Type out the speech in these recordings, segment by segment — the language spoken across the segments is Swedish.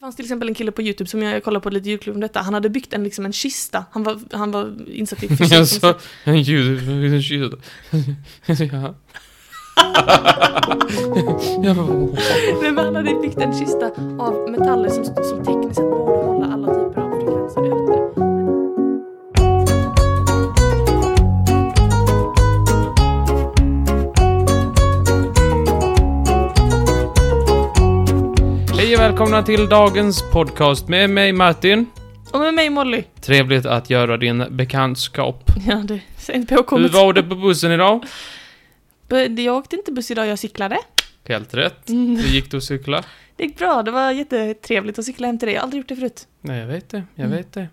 fanns till exempel en kille på YouTube som jag kollade på lite YouTube om detta. Han hade byggt en, liksom en kista. Han var, han var insatt i fysik. Alltså, en ljud... En ljud. Ja. Ja. Nej, men han hade byggt en kista av metaller som, som tekniskt sett borde hålla alla typer av frekvenser ute. Hej och välkomna till dagens podcast med mig Martin. Och med mig Molly. Trevligt att göra din bekantskap. Ja, det är inte Hur påkommet. var det på bussen idag? B- Jag åkte inte buss idag, jag cyklade. Helt rätt. Mm. Hur gick det att cykla? Det gick bra, det var jättetrevligt att cykla hem till dig. Jag har aldrig gjort det förut. Nej, jag vet det. Jag Mm. vet det.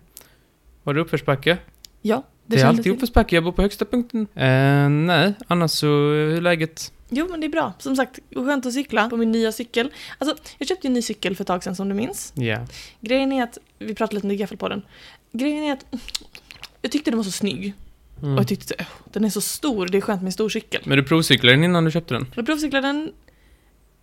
Var det uppförsbacke? Ja, Det, är kändes alltid uppförsbacke. Jag bor på högsta punkten. Eh, nej, annars så eh, hur är läget? Jo, men det är bra. Som sagt, skönt att cykla på min nya cykel. Alltså, jag köpte ju en ny cykel för ett tag sedan som du minns. Ja. Grejen är att, vi pratade lite om det i Gaffelpodden. Grejen är att jag tyckte den var så snygg. Och Mm. jag tyckte, "Åh, den är så stor, det är skönt med en stor cykel. Men du provcyklade den innan du köpte den? Jag provcyklade den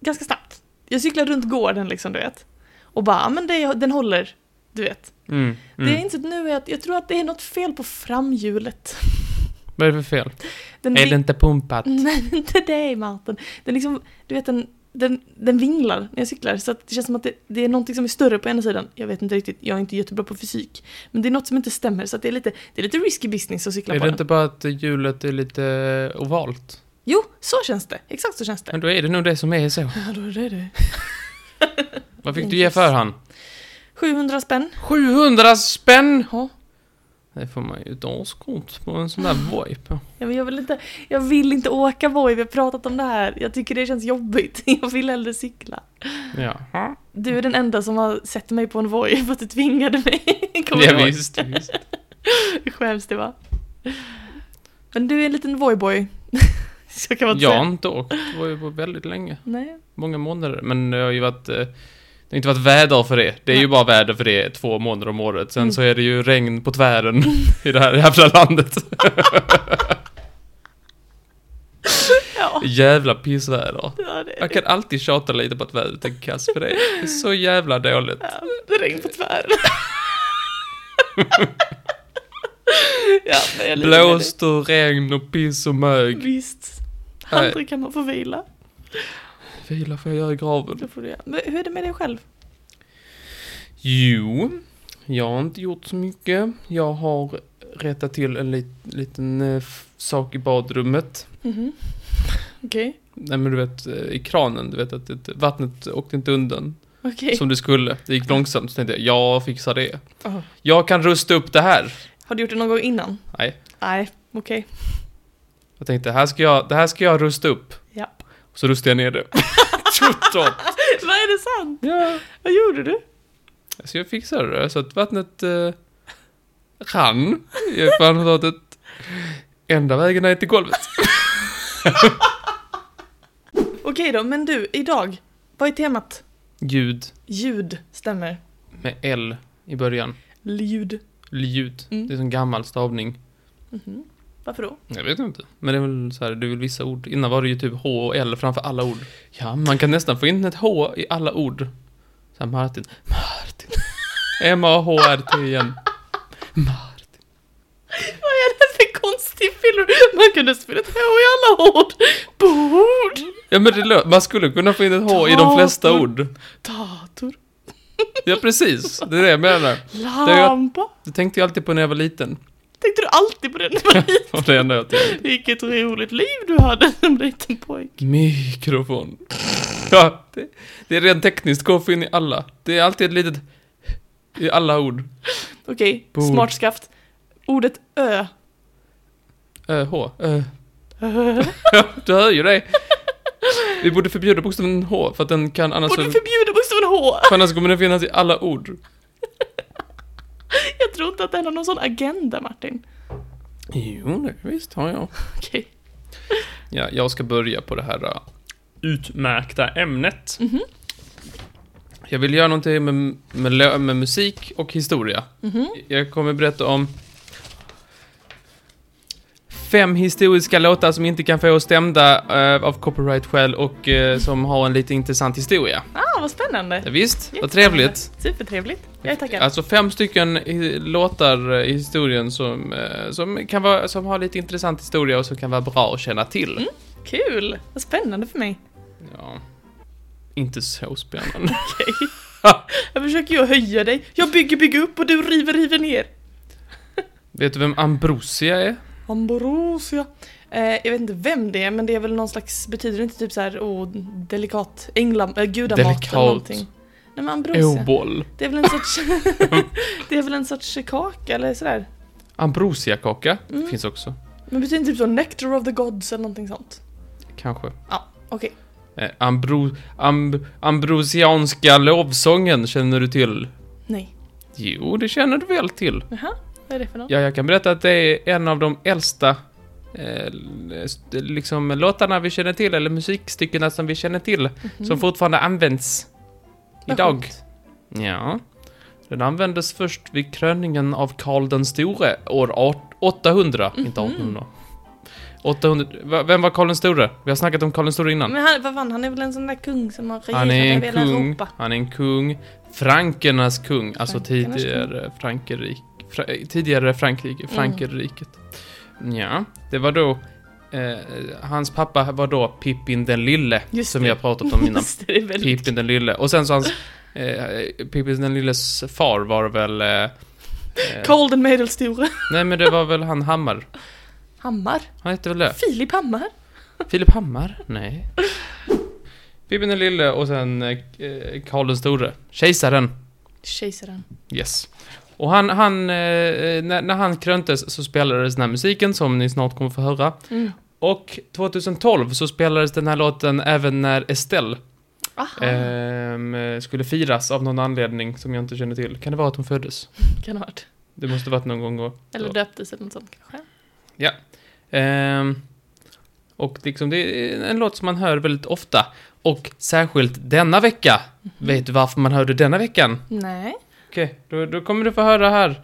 ganska snabbt. Jag cyklade runt gården liksom, du vet. Och bara, "Ah, men det, den håller, du vet. Mm. Det Mm. jag insett nu är att jag tror att det är något fel på framhjulet. Vad är det för fel? Den Är vi- det inte pumpat? Nej, inte dig Martin. Den liksom, du vet den, den, den vinglar när jag cyklar så att det känns som att det, det är någonting som är större på ena sidan. Jag vet inte riktigt, jag är inte jättebra på fysik. Men det är något som inte stämmer så att det är lite, det är lite risky business att cykla Är på det den. inte bara att hjulet är lite eh, ovalt? Jo, så känns det. Exakt så känns det. Men då är det nog det som är så. Ja, då är det det. Vad fick du ge för han? 700 spänn. 700 spänn! Ja. Det får man ju ett årskort på en sån där Voi på. Ja, men jag, vill inte, jag vill inte åka Voi, vi har pratat om det här. Jag tycker det känns jobbigt. Jag vill hellre cykla. Ja. Du är den enda som har sett mig på en Voi för att du tvingade mig. Kommer du ja ihåg? visst, visst. Hur skäms det va? Men du är en liten voyboy. Så kan man inte Jag har säga. inte åkt Voi på väldigt länge. Nej. Många månader. Men det har ju varit... eh, Det har inte varit väder för det. Det är ju Nej. bara väder för det två månader om året. Sen Mm. så är det ju regn på tvären i det här jävla landet. Ja. Jävla pissväder. ja det, Jag kan alltid tjata lite på att vädret är kass för det. Det är så jävla dåligt. ja, det är regn på tvären. ja, men jag är lite Blåst och regn och piss och med dig. mög. Visst. Nej. Aldrig kan man få vila. Vila får jag göra i graven. Då får du göra. Men hur är det med dig själv? Jo, jag har inte gjort så mycket. Jag har rättat till en lit, liten eh, f- sak i badrummet. Mhm. Okej. Nej men du vet, eh, i kranen, du vet att det, vattnet åkte inte undan Okej. som det skulle. Det gick långsamt, så tänkte jag, jag fixar det. Aha. Jag kan rusta upp det här. Ah. Har du gjort det någon gång innan? Nej. Nej, okej. Jag tänkte, här ska jag, det här ska jag rusta upp. Japp. Så rustade jag ner det. Totalt. Vad är det sant? Ja. Vad gjorde du? Så jag fixade det, så att vattnet eh, rann i pannfatet. Enda vägen ner till golvet. Okej då, men du, idag. Vad är temat? Ljud Ljud stämmer. med L i början. Ljud. Ljud. Mm. Det är en gammal stavning. Mhm. Varför då? Jag vet inte. Men det är väl så här, det är väl vissa ord. Innan var det ju typ H och L framför alla ord. Ja, man kan nästan få in ett H i alla ord. Så här, Martin. Martin. M-A-H-R-T igen. Martin. Vad är det för konstig film? Man kunde spela ett H i alla ord. Bord. Ja, men det lö- man skulle kunna få in ett H i de flesta ord. Dator. Ja, precis. Det är det jag menar. Lampa. Det tänkte jag alltid på när jag var liten. Tänkte du alltid på det när du var liten? Och det enda jag tänkte. Vilket roligt liv du hade som liten pojk. Mikrofon. Ja, det, det är rent tekniskt. Gå för in i alla. Det är alltid ett litet i alla ord. Okej, Bord. smart skaft. Ordet ö. Ö, H. Ö. Ö. Du hör ju det. Vi borde förbjuda bokstaven H för att den kan annars... Borde förbjuda bokstaven H. för annars kommer den finnas i alla ord. Jag tror inte att den har någon sån agenda, Martin. Jo, det visst har jag. Okej. Ja, jag ska börja på det här uh, utmärkta ämnet. Mhm. Jag vill göra någonting med, med, lö- med musik och historia. Mhm. Jag kommer berätta om Fem historiska låtar som inte kan få oss stämda eh, av copyright-skäl och eh, som har en lite intressant historia. Ah, vad spännande! Ja, visst, vad Jättespännande. trevligt. Supertrevligt. Jag är taggad. Alltså fem stycken i- låtar eh, i historien som, eh, som, kan vara, som har lite intressant historia och som kan vara bra att känna till. Kul! Vad spännande för mig. Ja. Inte så spännande. Jag försöker ju höja dig. Jag bygger, bygger upp och du river, river ner. Vet du vem Ambrosia är? Ambrosia. Eh, jag vet inte vem det är, men det är väl någon slags, betyder det inte typ så här, oh, delikat, änglam, äh, gudamat Delikat. eller någonting? Nej men ambrosia. Åboll. Det är väl en sorts, det är väl en sorts kaka eller sådär. Ambrosiakaka Mm. finns också. Men betyder det typ så nectar of the gods eller någonting sånt? Kanske. Okej. Eh, ambro, amb, ambrosianska lovsången känner du till? Nej. Jo, det känner du väl till. Jaha, vad är det för något? Ja, jag kan berätta att det är en av de äldsta eh, st- liksom, låtarna vi känner till, eller musikstyckena som vi känner till, Mhm. som fortfarande används Vad idag. sjukt. Ja. Den användes först vid kröningen av Karl den store år art- 800, inte Mhm. 1800. 800. Va- Vem var Karl den store? Vi har snackat om Karl den store innan. Men han, vad fan, han är väl en sån där kung som har regerat Han är en över hela kung. Europa? Han är en kung. Frankernas kung. Alltså Frankernas Mm. tidigare Frankrike. Fra, tidigare Frankrike. Frankerriket. Ja, det var då... Eh, hans pappa var då Pippin den lille. Just som det. vi har pratat om innan. Typ. Just det, det är väldigt Pippin den lille. Och sen så hans... Eh, Pippin den lilles far var väl... Eh, eh, Cold and Medelstore. nej men det var väl han Hammar. Hammar. Han hette väl det? Filip Hammar. Filip Hammar? Nej. Pippin den lille och sen eh, Karl den store. Kejsaren. Kejsaren. Yes. Och han, han, eh, när, när han kröntes så spelades den här musiken som ni snart kommer få höra. Mm. Och 2012 så spelades den här låten även när Estelle Aha, ehm, skulle firas av någon anledning som jag inte känner till. Kan det vara att hon föddes? kan ha varit. Det måste varit någon gång då. Eller Ja. döptes eller något sånt kanske. Ehm, och liksom det är en låt som man hör väldigt ofta. Och särskilt denna vecka. Mhm. Vet du varför man hörde denna veckan? Nej. Okej, då, då kommer du få höra här.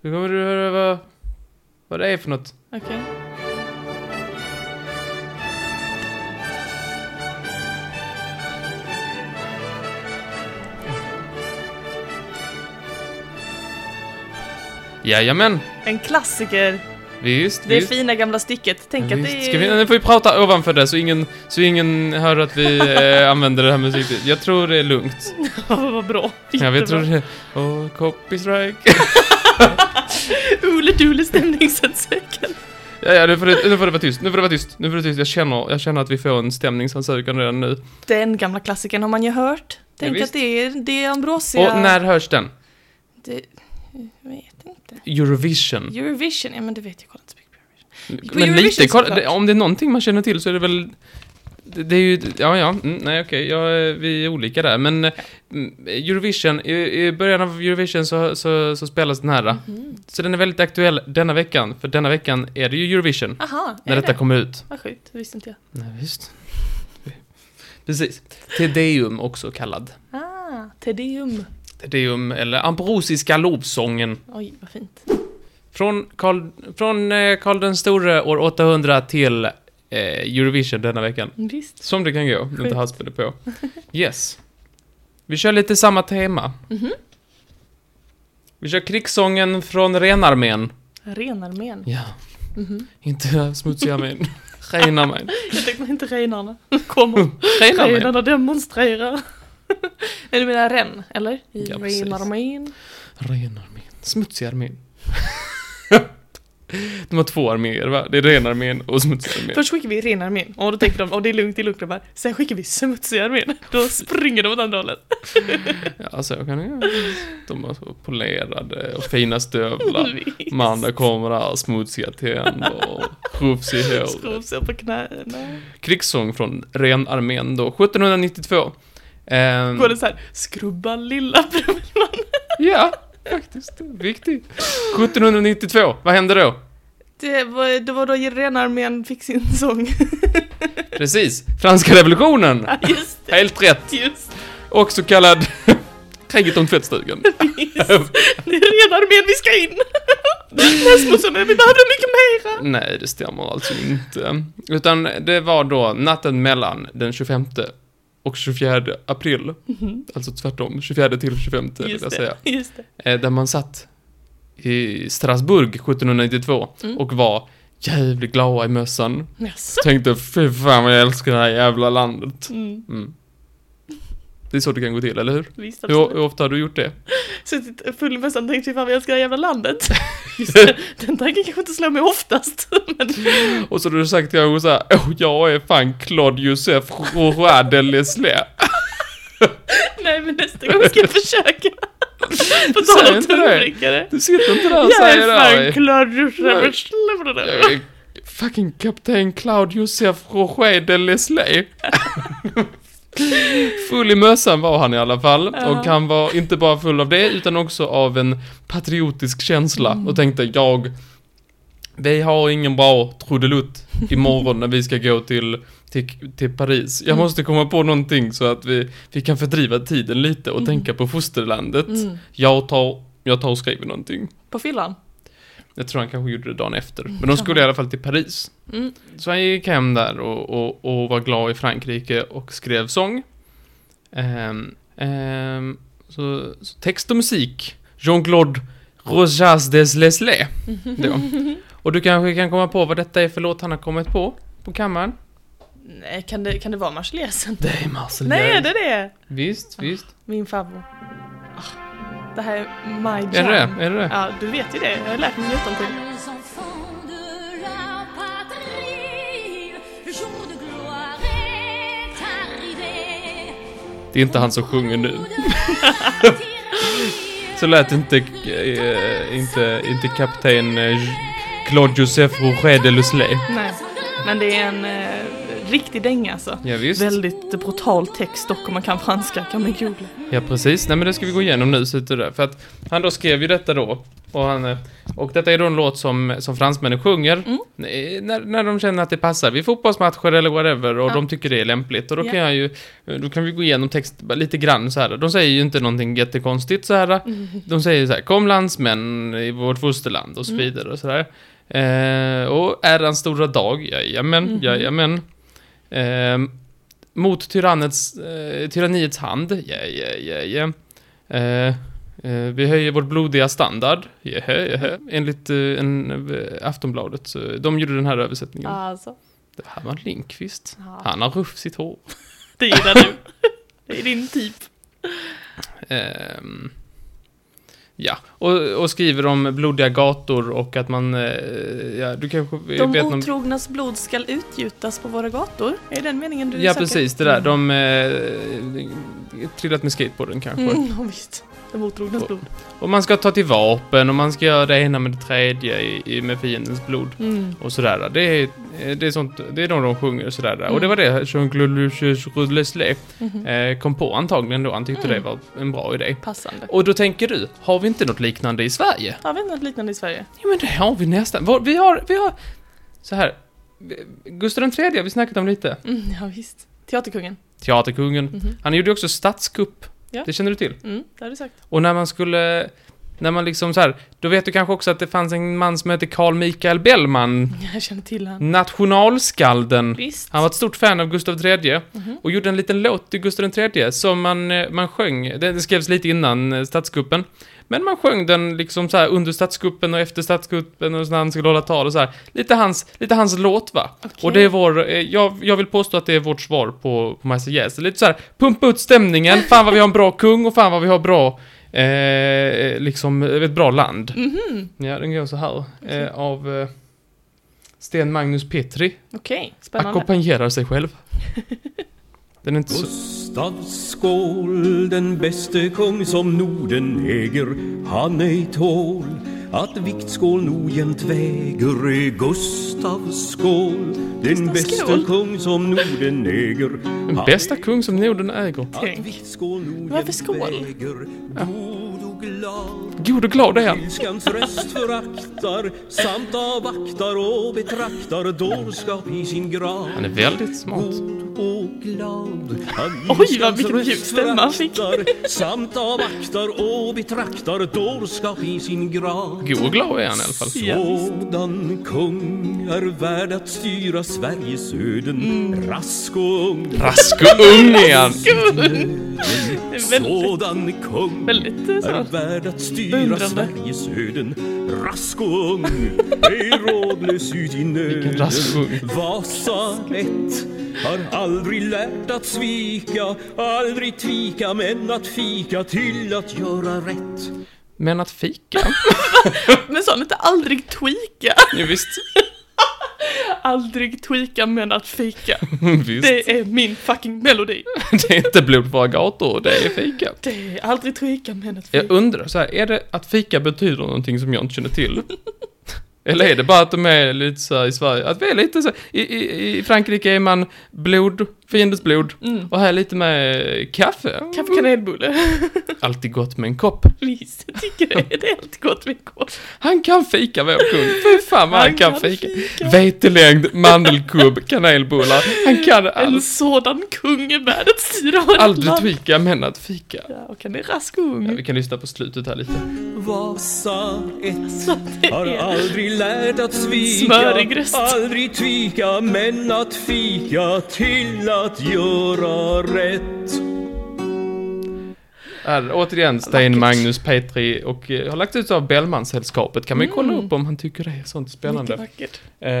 Då kommer du höra vad, vad det är för något. Okej. Jajamän, En klassiker. visst, Det är visst. fina gamla stycket. Tänk att visst. det Ska vi, är... nu får vi prata ovanför det så ingen, så ingen hör att vi eh, använder det här musiken. Jag tror det är lugnt. Vad bra. Ja, vi Jättebra. tror det. Åh, copy strike. Ole-dole stämning så att säga. Ja, ja, nu får, det, nu får det vara tyst. Nu får det vara tyst. Nu får det vara tyst. Jag känner, jag känner att vi får en stämningsansökan redan nu. Den gamla klassikern har man ju hört. Tänk visst. att det är, det är Ambrosia. Och när hörs den? Det, jag vet inte. Eurovision. Eurovision, ja men du vet jag kollar inte så mycket på Eurovision. På Men lite, Eurovision kolla, såklart. det- om det är någonting man känner till så är det väl... Det, det är ju, ja, ja, mm, nej okej, ja, vi är olika där, men eh, mm, Eurovision, i, i början av Eurovision så, så, så spelas den här. Mhm. Så den är väldigt aktuell denna veckan, för denna veckan är det ju Eurovision, Aha, är när det detta det? kommer ut. Vad sjukt, det visste inte jag. Nej, visst. Precis. Tedeum också kallad. Ah, Tedeum. Tedeum, eller Ambrosiska lovsången. Oj, vad fint. Från Karl, från eh, Karl den store år 800 till eh, Eurovision denna veckan. Mm, Visst. Som det kan gå, om Sjukt. inte haspade på. Yes. Vi kör lite samma tema. Mhm. Vi kör krigssången från renarmén. Renarmén. Ja, Mhm. inte smutsiga armén. Renarmén. Jag tänkte inte renarna. Kommer. Renarmén. Renarna demonstrerar. Nej, du menar ren, eller? I Ja, precis. renarmén. Renarmén. Smutsiga armén. De har två arméer va? Det är renarmén och smutsiga armén. Först skickar vi renarmén. Och då tänker de, åh det är lugnt, det är lugnt grabbar. Sen skickar vi smutsiga armén. Då springer de åt andra hållet. Ja, så kan det gå. De har så polerade och fina stövlar. Visst. De andra kommer där smutsiga tänder och rufs i håret. Skov sig på knäna. krigssång från renarmén då, 1792. Ehm, Går det så här, skrubba lilla brumman. Ja, faktiskt. Viktigt. 1792, vad hände då? Det var, det var då renarmén fick sin sång. Precis, franska revolutionen! Ja, Just det, Helt rätt! just Och så kallad kriget om tvättstugan. det. Det är renarmén vi ska in. Lesbosonen, vi behövde mycket mera! Nej, det stämmer alltså inte. Utan det var då natten mellan den 25 och 24 april. Mhm. Alltså tvärtom, 24 till 25 vill Just jag det, säga. just det. Eh, Där man satt i Strasbourg 1792 Mm. och var jävligt glada i mössan. Jaså? Tänkte fy fan vad jag älskar det här jävla landet. Mm, Mm. Det är så det kan gå till, eller hur? visst Hur, absolut. hur ofta har du gjort det? Suttit full i mössan och tänkt fy fan vad jag älskar det här jävla landet. Just det, den tanken kanske inte slår mig oftast. Men Och så har du sagt kanske såhär, åh jag är fan Claude Joseph Roy de Leslie. nej, men nästa gång ska jag försöka. På Säg tal om inte det. tungvrickare. Du sitter inte där och Jag är säger det. fan här. klar. Jag är fucking kapten Claude Joseph Roger de Leslie. Full i mössan var han i alla fall. Ja. Och han var inte bara full av det, utan också av en patriotisk känsla. Mm. Och tänkte, jag... Vi har ingen bra trudelutt imorgon när vi ska gå till, till, till Paris. Jag Mm. måste komma på någonting så att vi, vi kan fördriva tiden lite och Mm. tänka på fosterlandet. Mm. Jag, tar, jag tar och skriver någonting. På fyllan? Jag tror han kanske gjorde det dagen efter. Men de skulle i alla fall till Paris. Mm. Så han gick hem där och, och, och var glad i Frankrike och skrev sång. Ehm, ehm, så, så text och musik. Jean-Claude Rojas des Lesles. Då. Och du kanske kan komma på vad detta är för låt han har kommit på på kammaren? Nej, kan det, kan det vara Marseljäsen? Det är Marseljäs. Nej, det är det! Visst, visst. Min favvo. Ah, Det här är my jam. Är det det? Är det det? Ja, du vet ju det. Jag har lärt mig utan till. Les enfants de la patrie, le jour de gloire est arrivé. Det är inte han som sjunger nu. Så Så lät inte, eh, inte, inte kapten eh, Claude Joseph Roger de Lesles. Nej. Men det är en eh, riktig dänga alltså. Ja, visst. Väldigt brutal text dock om man kan franska kan man googla. Ja, precis. Nej, men det ska vi gå igenom nu, så inte det. För att han då skrev ju detta då. Och, han, eh, och detta är då en låt som, som fransmännen sjunger Mm. eh, när, när de känner att det passar. Vid fotbollsmatcher eller whatever och Ja. de tycker det är lämpligt. Och då Ja. kan jag ju, eh, då kan vi gå igenom text bara lite grann så här. De säger ju inte någonting jättekonstigt så här. Mm. De säger så här, kom landsmän i vårt fosterland och så vidare och så där. Eh, och ärans stora dag, jajamän, jajamän. Ehm, mot tyrannets, eh, tyranniets hand. Yeah, yeah, yeah, yeah. Eh, eh, vi höjer vår blodiga standard. Yeah, yeah. Enligt eh, en, eh, Aftonbladet. Så de gjorde den här översättningen. Alltså, Det här var Lindqvist. Ja. Han har rufsigt hår. det gillar du. Det är din typ. Ehm, ja, och, och skriver om blodiga gator och att man... Eh, ja, du kanske De vet någon... otrognas blod skall utgjutas på våra gator. Är den meningen du Ja, söker? precis. Det där. Mm. De... Eh, trillat med skateboarden kanske. Mm, ja, visst. De otrognas blod. Och man ska ta till vapen och man ska göra det ena med det tredje i, i, med fiendens blod. Mm. Och sådär. Det är, eh, det är, sånt, det är de de sjunger och sådär. Mm. Och det var det Jean-Claude Lucius Leslie Mhm. eh, kom på antagligen då. Han tyckte Mm. det var en bra idé. Passande. Och då tänker du, har vi inte något liknande i Sverige? Har vi något liknande i Sverige? Ja men det har vi nästan. Vår- Vi har, vi har... Så här. vi- Gustav III har vi snackat om lite. Mm, ja, visst. Teaterkungen. Teaterkungen. Mhm. Han gjorde ju också statskupp. Ja. Det känner du till? Mm, det har du sagt. Och när man skulle... När man liksom så här, då vet du kanske också att det fanns en man som hette Carl Michael Bellman. Jag känner till han. Nationalskalden. Visst. Mm. Han var ett stort fan av Gustav III Mhm. och gjorde en liten låt till Gustav III som man, eh, man sjöng. Den den skrevs lite innan eh, statskuppen. Men man sjöng den liksom så här under statskuppen och efter statskuppen och så när han skulle hålla tal och så här. Lite hans, lite hans låt va. Okej. Och det är vår, eh, jag, jag vill påstå att det är vårt svar på, på Marseille Yes. Lite så här, pumpa ut stämningen, fan vad vi har en bra kung och fan vad vi har bra, eh, liksom, ett bra land. Mhm. Ja, den går så här. Eh, av eh, Sten Magnus Petri Okej, spännande. ackompanjerar sig själv. Den är inte så... Gustav skål, den bäste kung som Norden äger, han ej tål att viktskål nog jämt väger. I Gustav skål, den Gustav bäste skål. kung som Norden äger. Den han bästa ej kung som Norden äger. att viktskål nog Varför jämt skål? väger. God och glad God och glad är han. Ilskans röst föraktar samt avvaktar och betraktar dårskap i sin grav. Han är väldigt smart. God och glad. Han Oj, vad ilskans vilken röst djup stämma han fick. föraktar, Samt avvaktar och betraktar dårskap i sin grad. God och glad är han i alla fall. Ja, Sådan kung är värd att styra Sveriges öden Mm. Rask och ung Rask och ung är han. Väldigt, Sådan kung väldigt eh, är så. värd att styra Beundrande. Sveriges öden Rask och ung ej rådlös ut i nöden rask ung. Vasa ett har aldrig lärt att svika Aldrig tvika men att fika till att göra rätt Men att fika? Men sa han inte aldrig tweaka? Jo, visst. Aldrig tweaka men att fika. visst. Det är min fucking melodi. Det är inte blod på våra gator, det är fika. Det är aldrig tweaka men att Jag fika. undrar, så här, är det att fika betyder någonting som jag inte känner till? Eller är det bara att de är lite så här i Sverige, att vi är lite så här, i, i, i Frankrike är man blod, fiendens blod, Mm. och här är lite med kaffe. Kaffe kanelbulle. Alltid gott med en kopp. Visst, jag tycker det. Det är alltid gott med kål. Han kan fika vår kung, fy fan vad han, Han kan, kan fika. fika. Vetelängd, mandelkubb, kanelbullar, han kan En allt. sådan kung är värd att styra över ett Aldrig land. tvika men att fika. Ja, och han är rask och Ja, ung. vi kan lyssna på slutet här lite. Vasa ett Så det Har är... aldrig lärt att svika Smörig röst. Aldrig tvika men att fika till att göra rätt Här, återigen Stein, Magnus, Petri och eh, har lagt ut av Bellmansällskapet. Kan man ju kolla upp om han tycker det är sånt spännande. Mm. Mycket vackert. Eh,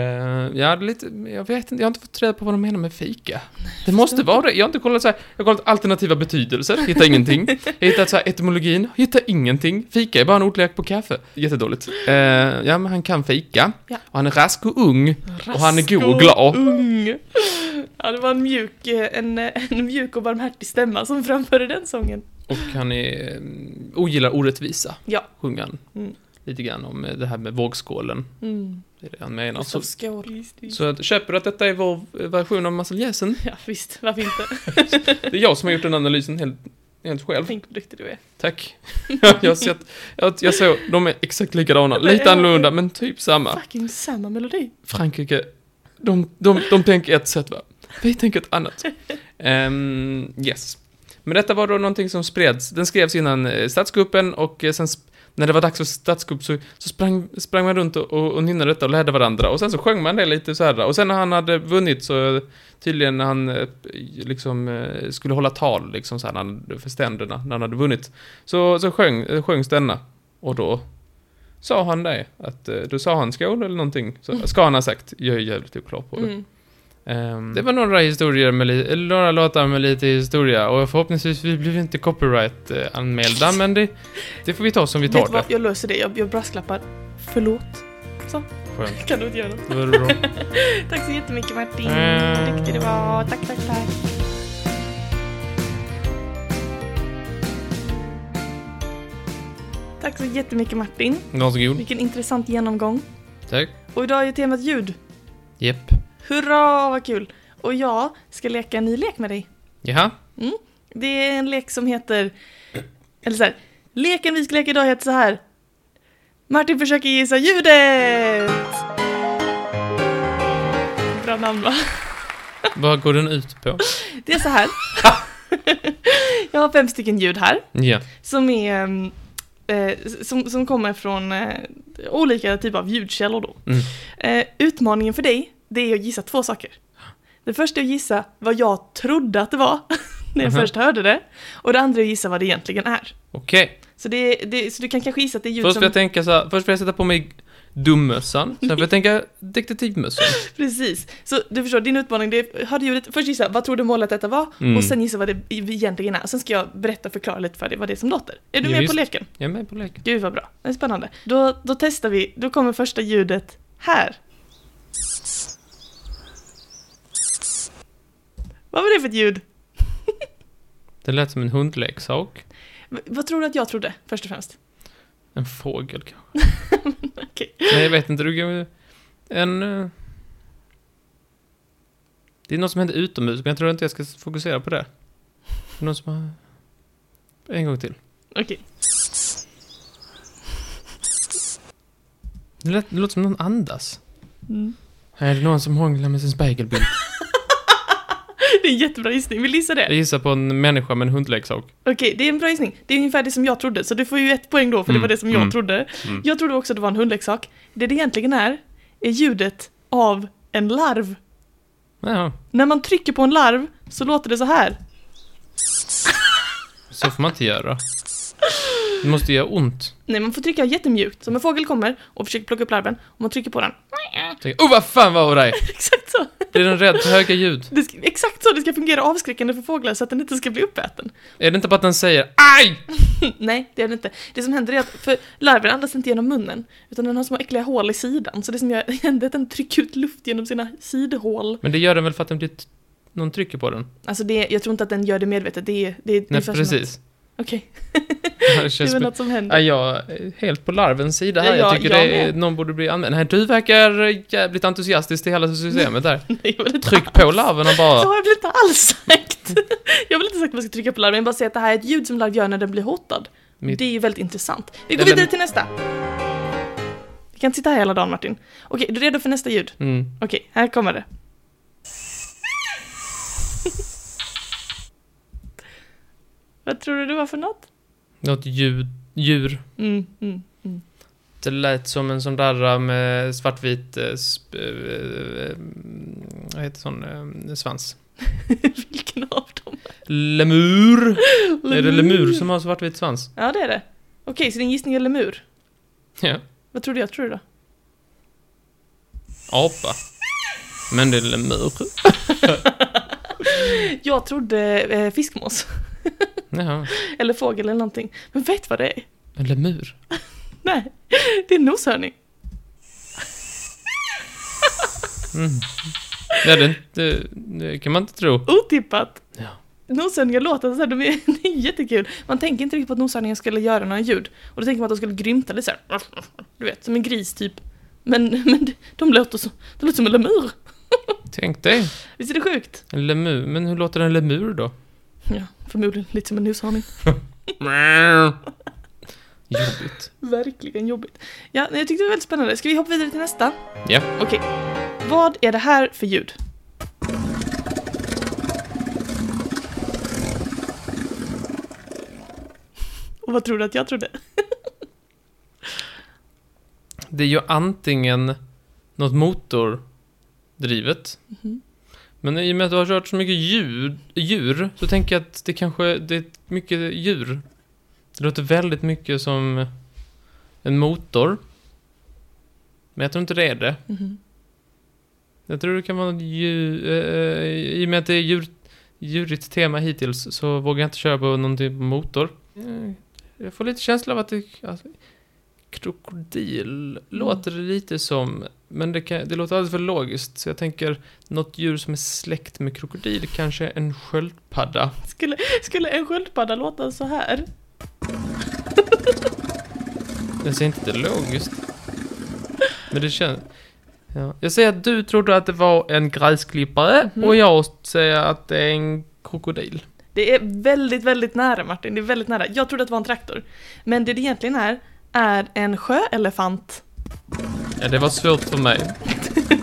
ja, det är lite, jag vet inte, jag har inte fått reda på vad de menar med fika. Det måste vara det. Jag har inte kollat så här, jag har kollat alternativa betydelser, hittar ingenting. Jag har hittat så här etymologin, hittar ingenting. Fika är bara en ordlek på kaffe. Jättedåligt. Eh, ja, men han kan fika. Ja. Och han är rask och ung. Rask och han är god och glad. ung. Ja, det var en mjuk, eh, en, eh, en mjuk och barmhärtig stämma som framförde den sången. Och han är, mm, ogillar orättvisa, Ja. sjunger han. Mm. Lite grann om eh, det här med vågskålen. Mm. Det är det han menar. Så, Gustav Skål. Visst, visst. så att, köper du att detta är vår eh, version av Marcel Jäsen? Ja, visst. Varför inte? Det är jag som har gjort den analysen helt, helt själv. Tänk vad duktig du är. Tack. jag har sett, jag, jag såg, de är exakt likadana. Lite annorlunda, men typ samma. Fucking samma melodi. Frankrike, de, de, de tänker ett sätt va? Vi tänker ett annat. Ehm, yes. Men detta var då någonting som spreds. Den skrevs innan eh, statskuppen och eh, sen sp- när det var dags för statskupp så, så sprang, sprang man runt och, och, och nynnade detta och lärde varandra. Och sen så sjöng man det lite så här. Och sen när han hade vunnit så eh, tydligen när han eh, liksom eh, skulle hålla tal liksom så här, när han, hade- för ständerna när han hade vunnit. Så, så sjöng, eh, sjöngs denna. Och då sa han det. Att, eh, då sa han skål eller någonting. Så, ska han ha sagt. Jag är jävligt oklar på det. Mm. Ehm, det var några historier med li- eller några låtar med lite historia och förhoppningsvis vi blir inte copyright-anmälda men det, det får vi ta som vi Vet tar du det. vad? Jag löser det. Jag, jag brasklappar. Förlåt. Så, Skönt. kan du inte göra något. Det var bra. Tack så jättemycket Martin. Mm. Vad duktig du var. Tack, tack, tack. Tack så jättemycket Martin. Varsågod. Vilken intressant genomgång. Tack. Och idag är temat ljud. Japp. Hurra vad kul! Och jag ska leka en ny lek med dig. Jaha. Det är en lek som heter... Eller så här, leken vi ska leka idag heter så här. Martin försöker gissa ljudet! Bra namn va? Vad går den ut på? Det är så här. jag har fem stycken ljud här Ja. som är mm, eh, som, som kommer från eh, olika typer av ljudkällor då. Mm. Eh, utmaningen för dig, det är att gissa två saker. Det första är att gissa vad jag trodde att det var när jag Mhm. först hörde det. Och det andra är att gissa vad det egentligen är. Okej. Så, det, det, så du kan kanske gissa att det är ljud Först som... får jag tänka så här, först får jag sätta på mig dummössan, sen får jag tänka detektivmössan. Precis. Så du förstår, din utmaning det är, hörde ljudet, först gissa vad trodde målet detta var Mm. och sen gissa vad det egentligen är. Sen ska jag berätta och förklara lite för dig vad det är som låter. Är du Ja, med visst. på leken? Jag är med på leken. Gud vad bra, det är spännande. Då, då testar vi, då kommer första ljudet här. Vad var det för ett ljud? Det lät som en hundleksak. V- vad tror du att jag trodde, först och främst? En fågel kanske. Okej. Nej, jag vet inte. Du kan... En... eh, Det är något som händer utomhus, men jag tror inte jag ska fokusera på det. Det är någon som har... En gång till. Okej. Det, lät, det låter som någon andas. Mm. Här är det någon som hånglar med sin spegelbild. Det är en jättebra gissning, vill du gissa Jag det? gissar på en människa med en hundleksak. Okej, det är en bra gissning. Det är ungefär det som jag trodde, så du får ju ett poäng då för det Mm, var det som jag mm, trodde. mm. Jag trodde också att det var en hundleksak. Det det egentligen är, är ljudet av en larv. Ja, När man trycker på en larv så låter det så här. så får man inte göra. Det måste göra ont. Nej, man får trycka jättemjukt. Som en fågel kommer och försöker plocka upp larven och man trycker på den. Tänk, oh vad fan var det? Exakt så! Blir den rädd för höga ljud? Det ska, exakt så det ska fungera avskräckande för fåglar så att den inte ska bli uppäten. Är det inte bara att den säger AJ! Nej, det är det inte. Det som händer är att för larven andas inte genom munnen, utan den har små äckliga hål i sidan. Så det som gör- händer är att den trycker ut luft genom sina sidhål. Men det gör den väl för att den blir... T- någon trycker på den? Alltså det, jag tror inte att den gör det medvetet, det är... Det är Nej, ungefär som att- precis. Okej, Det det känns... var något som hände. Ja, jag är helt på larvens sida här. Ja, Jag jag- tycker jag det är, med. någon borde bli använd. Nej, du verkar jävligt entusiastisk till hela systemet där. Nej, jag vill inte Tryck på larven och Så bara... har jag väl inte alls sagt! Jag vill inte sagt att man ska trycka på larven, jag bara säga att det här är ett ljud som larv gör när den blir hotad. Mitt- Det är ju väldigt intressant. Vi Nej, går men- vidare till nästa! Vi kan inte sitta här hela dagen Martin. Okej, är du redo för nästa ljud? Mm. Okej, här kommer det. Vad tror du det var för något? Något ljud, djur. Mm, mm. Det lät som en sån där äh, med svartvit... äh, sp- äh, äh, Vad heter sån? äh, Svans. Vilken av dem? Lemur! Är det lemur som har svartvit svans? Ja, det är det. Okej, så din gissning är lemur. Ja. Vad trodde jag? Tror du då? Apa. Men det är lemur. Jag trodde eh, fiskmås. Jaha. Eller fågel eller någonting. Men vet vad det är? En lemur? Nej, det är en noshörning. Ja, det, det, det kan man inte tro. Otippat. Ja. Noshörningar låter så här, de är, det är jättekul. Man tänker inte riktigt på att noshörningar skulle göra några ljud. Och då tänker man att de skulle grymta lite så här. Du vet, som en gris typ. Men, men de låter så, de låter som en lemur. Tänk dig. Visst är det sjukt? En lemur. Men hur låter en lemur då? Ja, förmodligen lite som en noshörning. Jobbigt. Verkligen jobbigt. Ja, nej, jag tyckte det var väldigt spännande. Ska vi hoppa vidare till nästa? Ja. Okej. Vad är det här för ljud? Och vad tror du att jag trodde? Det är ju antingen något motordrivet. Mm-hmm. Men i och med att du har kört så mycket djur, djur så tänker jag att det kanske det är mycket djur. Det låter väldigt mycket som en motor. Men jag tror inte det är det. Mm-hmm. Jag tror det kan vara något djur... eh, I och med att det är djur, djurigt tema hittills så vågar jag inte köra på någon typ av motor. Eh, Jag får lite känsla av att det... Alltså, krokodil låter det lite som... Men det, kan, det låter alldeles för logiskt, så jag tänker något djur som är släkt med krokodil, kanske en sköldpadda. Skulle, skulle en sköldpadda låta så här? Jag säger inte det är logiskt. Men det känns... Ja. Jag säger att du trodde att det var en gräsklippare och jag säger att det är en krokodil. Det är väldigt, väldigt nära Martin. Det är väldigt nära. Jag trodde att det var en traktor. Men det det egentligen är, är en sjöelefant. Ja, det var svårt för mig.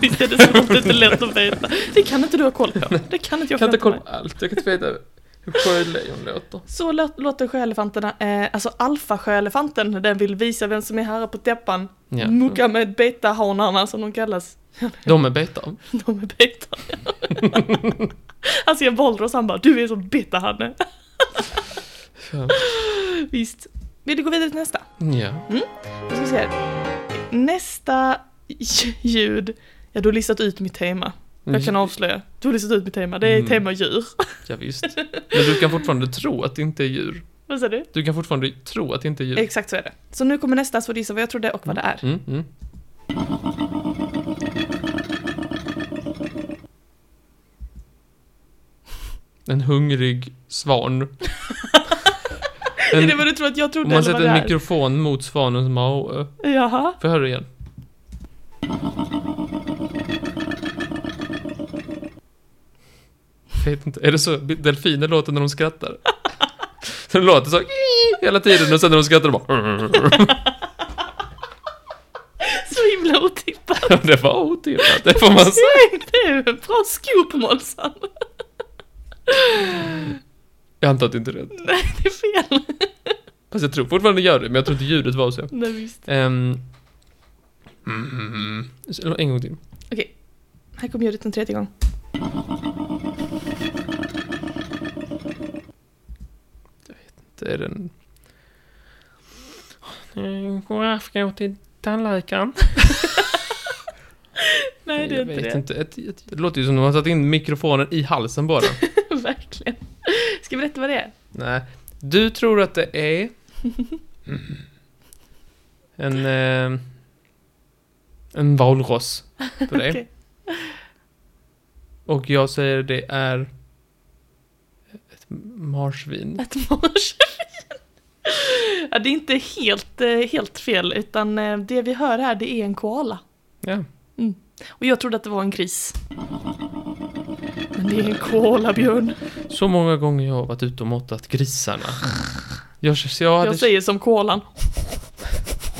Visst är det svårt? Det är inte lätt att veta. Det kan inte du ha koll på. Det kan inte jag Jag kan förvänta inte kolla mig. på allt. Jag kan inte veta hur sjölejon låter. Så lå- låter sjöelefanterna, eh, alltså alfasjöelefanten, när den vill visa vem som är herre på täppan. Ja. Mucka med betahanarna som de kallas. Mm. De är betar. De är beta. alltså jag Bollros han bara, du är så betahanne. Ja. Visst. Vill du gå vidare till nästa? Ja. Då ska vi se här. Nästa ljud. Ja, du har listat ut mitt tema. Jag kan avslöja. Du har listat ut mitt tema. Det är Mm. tema djur. ja, visst. Men du kan fortfarande tro att det inte är djur. Vad sa du? Du kan fortfarande tro att det inte är djur. Exakt så är det. Så nu kommer nästa, så får du gissa vad jag trodde och vad det är. Mm, mm. En hungrig svan. Är det En, vad du tror att jag om trodde man eller vad sätter det en är? mikrofon mot svanen som har... Jaha. Får jag höra igen? Jag vet inte, är det så delfiner låter när de skrattar? De låter så hela tiden och sen när de skrattar de bara... Så himla otippat. Det var otippat, det får man säga. Säg nu! Bra scoop Månsan! Jag antar att det inte är rätt. Det är fel. Fast jag tror fortfarande det gör det, men jag tror inte ljudet var så. Nej, visst. Um, mm, Så, en gång till. Okej. Här kommer ljudet en tredje gång. Det är den... En giraff går till tandläkaren. Nej, det är jag inte vet det. inte. Ett, ett, det låter ju som att de har satt in mikrofonen i halsen bara. Verkligen. Ska jag berätta vad det är? Nej. Du tror att det är... En... Eh, en valross. På det. Okej. Och jag säger det är... Ett marsvin. Ett marsvin. Ja, det är inte helt, eh, helt fel, utan eh, det vi hör här, det är en koala. Ja. Och jag trodde att det var en gris. Men det är en koalabjörn. Så många gånger jag har varit ute och måttat grisarna. Jag, jag, hade, Jag säger som koalan.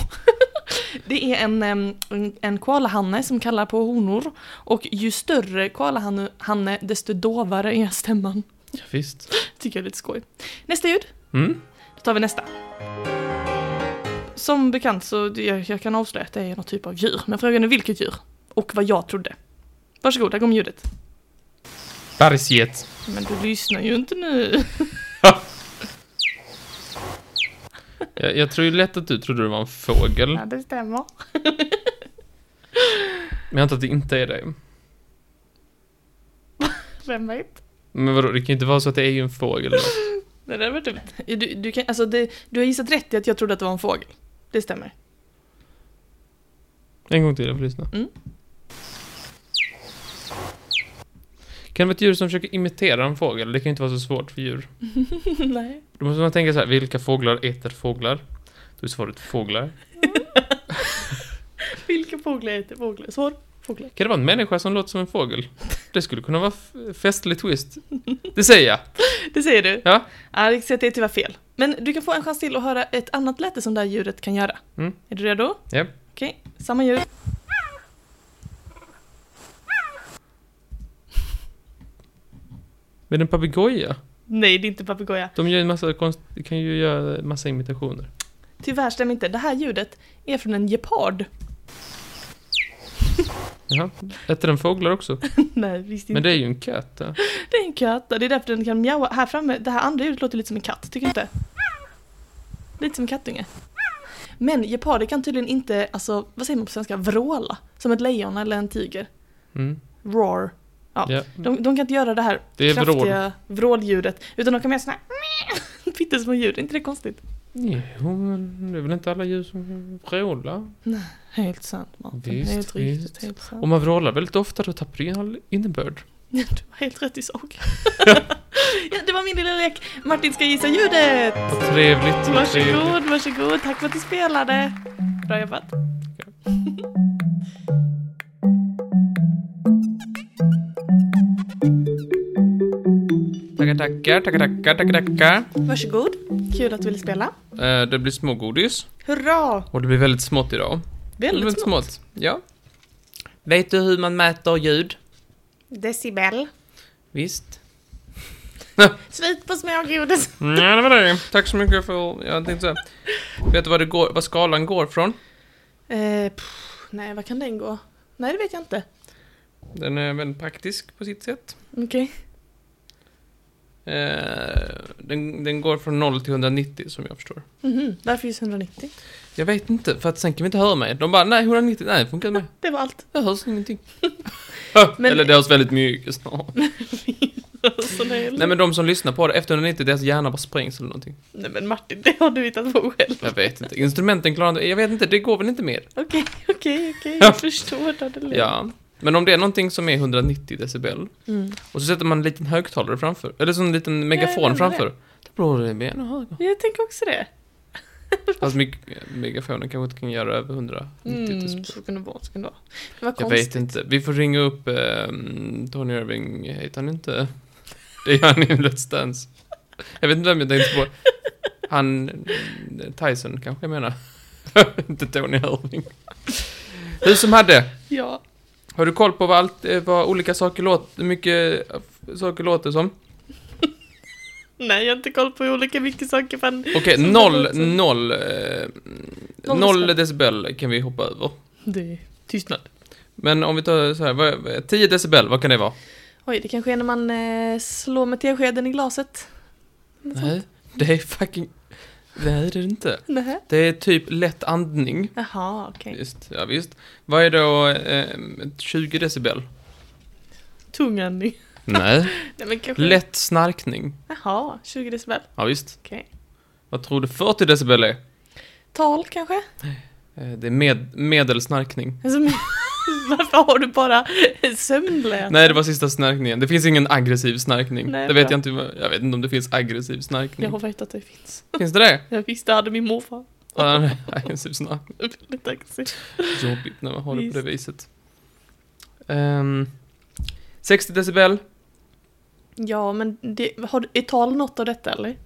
Det är en, em, en, en koalahanne som kallar på honor. Och ju större koalahanne, hanne, desto dovare är stämman. Ja, visst. Tycker jag är lite skoj. Nästa ljud. Mm. Då tar vi nästa. Som bekant så jag, jag kan avslöja att det är någon typ av djur. Men frågan är vilket djur? Och vad jag trodde. Varsågod, här kommer ljudet. Bergsget. Men du lyssnar ju inte nu. Jag, jag tror ju lätt att du trodde det var en fågel. Men det stämmer. jag antar att det inte är det. Vem vet? Men vadå, det kan ju inte vara så att det är ju en fågel. då. Det typ- där var dumt. Du, du, kan, alltså det, du har gissat rätt i att jag trodde att det var en fågel. Det stämmer. En gång till, jag får lyssna. Mm. Kan det vara ett djur som försöker imitera en fågel? Det kan ju inte vara så svårt för djur. Nej. Då måste man tänka så här, vilka fåglar äter fåglar? Då är svaret fåglar. Vilka fåglar heter fåglar? Svar? Fåglar. Kan det vara en människa som låter som en fågel? Det skulle kunna vara f- festlig twist. Det säger jag. Det säger du? Ja. Ja, det det är tyvärr fel. Men du kan få en chans till att höra ett annat läte som det här djuret kan göra. Mm. Är du redo? Ja. Okej, samma ljud. Men en papegoja? Nej, det är inte papegoja. De gör en massa konst... de kan ju göra en massa imitationer. Tyvärr stämmer inte. Det här ljudet är från en gepard. Jaha. Äter den fåglar också? Nej, visst inte. Men det är ju en katt. Ja. Det är en katt. Det är därför den kan mjaua. Här framme, det här andra ljudet låter lite som en katt, tycker du inte? Lite som en kattunge. Men geparder kan tydligen inte, alltså, vad säger man på svenska, vråla. Som ett lejon eller en tiger. Mm. Roar. Ja. ja. De, de kan inte göra det här Det är kraftiga vrålljudet, utan de kan göra såna här pyttesmå ljud. Är inte det konstigt? Jo, men det är väl inte alla djur som vrålar? Helt sant, Martin. Visst, helt riktigt, visst. helt sant. Om man vrålar väldigt ofta då tappar det ju all innebörd. Du var helt rätt i sak. ja, det var min lilla lek. Martin ska gissa ljudet. Vad trevligt. vad trevligt. Varsågod, varsågod. Tack för att du spelade. Bra jobbat. Tackar, tackar, tackar, tackar, tackar, tackar. Varsågod. Kul att du ville spela. Eh, det blir smågodis. Hurra! Och det blir väldigt smått idag. Väldigt små. Ja. Vet du hur man mäter ljud? Decibel. Visst. Svit på smågodis. Nej, Mm, det var det. Tack så mycket för... Jag tänkte säga. Vet du vad, det går, vad skalan går från? Eh, pff, nej, vad kan den gå? Nej, det vet jag inte. Den är väldigt praktisk på sitt sätt. Okej. Eh, den, den går från 0 till 190 som jag förstår. Mhm. Varför just 190? Jag vet inte, för att sen kan vi inte höra mig. De bara, nej 190, nej det funkar inte med. Det var allt. Det hörs ingenting. Men- Eller det hörs väldigt mycket snart. Så Alltså, nej, Nej men de som lyssnar på det efter 190, deras hjärna bara sprängs eller någonting. nej, men Martin, det har du hittat på själv. Jag vet inte. Instrumenten klarar inte, jag vet inte, det går väl inte mer. Okej, okej, okej. Jag förstår det. det är lugnt. Ja. Men om det är någonting som är 190 decibel Mm. och så sätter man en liten högtalare framför, eller så en liten jag megafon menar framför. Då blir det mer högre. Jag tänker också det. Fast mig- megafonen kanske inte kan göra över 190 decibel. Mm, så kan det vara. Så kan det vara. Det var Jag konstigt. vet inte. Vi får ringa upp ehm, Tony Irving, heter han inte? Det är han i Let's Dance. Jag vet inte vem jag tänkte på. Han... eh, Tyson kanske jag menar. inte Tony Irving. Hur som hade. Ja. Har du koll på vad, allt, eh, vad olika saker låter, mycket eh, saker låter som? Nej, jag har inte koll på hur olika mycket saker fan. Okej, Som noll, det låter. noll, eh, Noll noll decibel. decibel kan vi hoppa över. Det är tystnad. Men om vi tar så här, vad, vad- 10 decibel, vad kan det vara? Oj, det kanske är när man eh, slår med teskeden i glaset. Nej, det är fucking... Nej, det är det inte. Nähä. Det är typ lätt andning. Jaha, okej. Just, ja, visst. Vad är då eh, 20 decibel? Tungandning. Nej. Nej men kanske... Lätt snarkning. Jaha, 20 decibel. Ja, visst. Okej. Vad tror du 40 decibel är? Tal kanske? Eh, det är med, medelsnarkning. Alltså, men- varför har du bara sömnlän? Nej, det var sista snarkningen. Det finns ingen aggressiv snarkning. Nej, det vet bra. jag inte. vad- Jag vet inte om det finns aggressiv snarkning. Jag har vetat att det finns. Finns det det? Jag visste, det hade min morfar. Ja, nej, aggressiv snarkning. Väldigt aggressiv. Jobbigt när man har det på Visst. det viset. Ehm, 60 decibel. Ja, men det, har, du- är tal något av detta eller?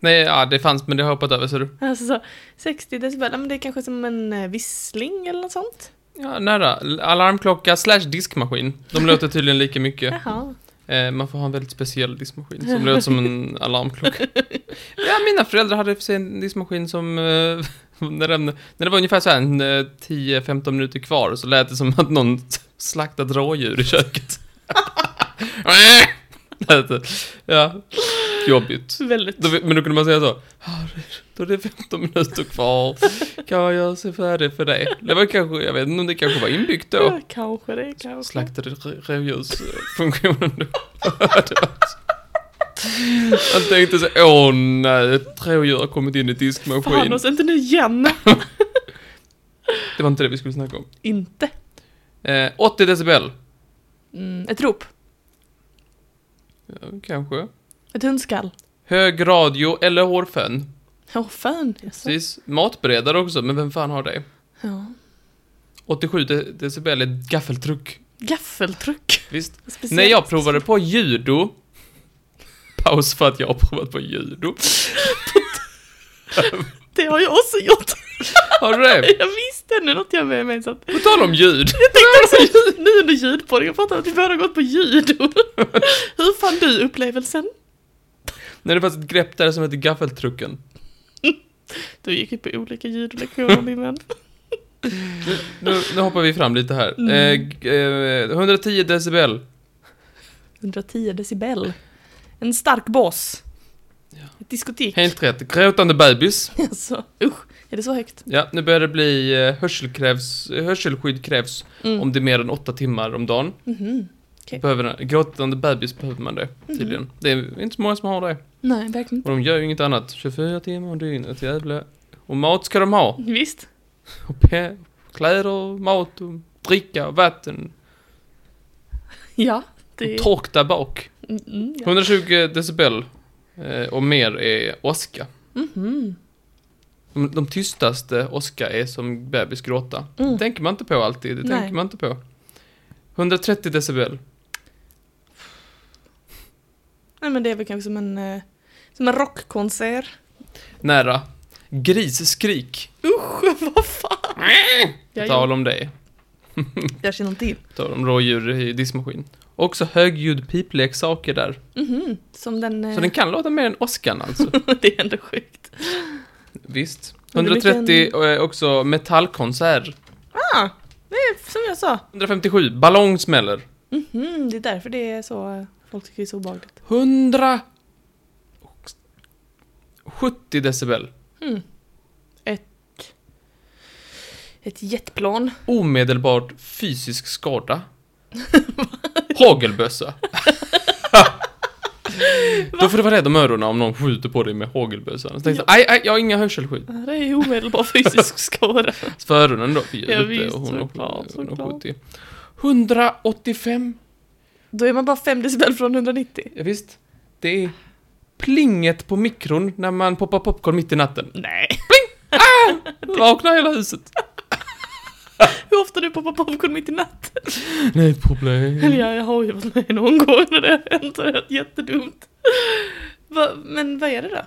Nej, ja, det fanns men det har jag hoppat över så du. Alltså så, 60 decibel, ja, men det är kanske som en eh, vissling eller något sånt? Ja, nära. L- Alarmklocka slash diskmaskin. De låter tydligen lika mycket. Jaha. Eh, man får ha en väldigt speciell diskmaskin som låter som en alarmklocka. Ja, mina föräldrar hade för sig en diskmaskin som... Eh, när, den, när det var ungefär så här en, eh, 10-15 minuter kvar så lät det som att någon slaktat rådjur i köket. Lät det. ja, jobbigt. Väldigt. Då, men då kunde man säga så. "Harry, Då är det 15 minuter kvar. Kan jag se färdig för dig? Det var kanske, jag vet inte om det kanske var inbyggt då. Ja, kanske det, kanske. Slaktade r- rådjursfunktionen då. Det var så- Han tänkte så, åh nej, ett rådjur har kommit in i Fan diskmaskinen. oss inte nu igen! Det var inte det vi skulle snacka om. inte. Eh, 80 decibel. Mm, ett rop. Ja, kanske. Ett hundskall. Hög radio eller hårfön. Åh, fan. Jaså. Precis. Matberedare också, men vem fan har det? Ja. 87 de- decibel är gaffeltruck. Gaffeltryck. Visst? Speciellt. När jag provade på judo Paus för att jag har provat på judo. Det har jag också gjort. Har du det? Jag visste ändå något jag med mig så att... På tal om ljud. Jag tänkte också nu under ljudpodden, jag fattar att vi båda har gått på judo. Hur fann du upplevelsen? När det fanns ett grepp där som hette gaffeltrucken. Du gick ju på olika judolektioner min vän. Nu, nu hoppar vi fram lite här. Mm. Eh, eh, 110 decibel. 110 decibel. En stark bas. Ett diskotek. Helt rätt. Gråtande bebis. Alltså, usch. Är det så högt? Ja, nu börjar det bli eh, hörsel krävs, eh, hörselskydd krävs Mm. om det är mer än åtta timmar om dagen. Mhm. Okej. Mm. Behöver, gråtande bebis behöver man det tydligen. Det är inte så många som har det. Nej, verkligen Och de gör ju inget annat. 24 timmar om dygnet, jävla. Och mat ska de ha. inte. Visst. Och pe- kläder, mat, och dricka, och vatten. Ja. Och Det... tork där bak. Mm, ja. 120 decibel eh, och mer är åska. Mhm. De, de tystaste åska är som bebis gråta. Det Mm. tänker man inte på alltid. Det Nej. tänker man inte på. 130 decibel. Nej men det är väl kanske som en, eh, som en rockkonsert. Nära. Grisskrik. Usch, vad fan! På Jag, tal om det. jag känner till. På Tal om rådjur i diskmaskin. Också högljudd pipleksaker där. Mhm. Som den... eh, Så den kan låta mer än åskan alltså. det är ändå sjukt. Visst. Men det är mycket 130 eh, också metallkonsert. Ah, det är som jag sa. 157, ballong smäller. Mhm, det är därför det är så... eh, Folk tycker det är så obehagligt. 170 decibel. Ett jetplan. Omedelbart fysisk skada. Hagelbössa. Då får du vara rädd om öronen om någon skjuter på dig med hagelbössan. Så tänkte jag, aj, aj, jag har inga hörselskydd. Ja, Det är ju omedelbar fysisk skada. Så För öronen då, för Ja, ljudet, visst, och hon såklart, har- hon har såklart. 70. 185, Då är man bara 5 decibel från 190. ja, visst. Det är plinget på mikron när man poppar popcorn mitt i natten. Nej. Vaknar hela huset. Hur ofta du poppar popcorn mitt i natten? Nej problem. Eller ja, jag har ju varit med någon gång när det har hänt och det har varit jättedumt. Va, men vad är det då?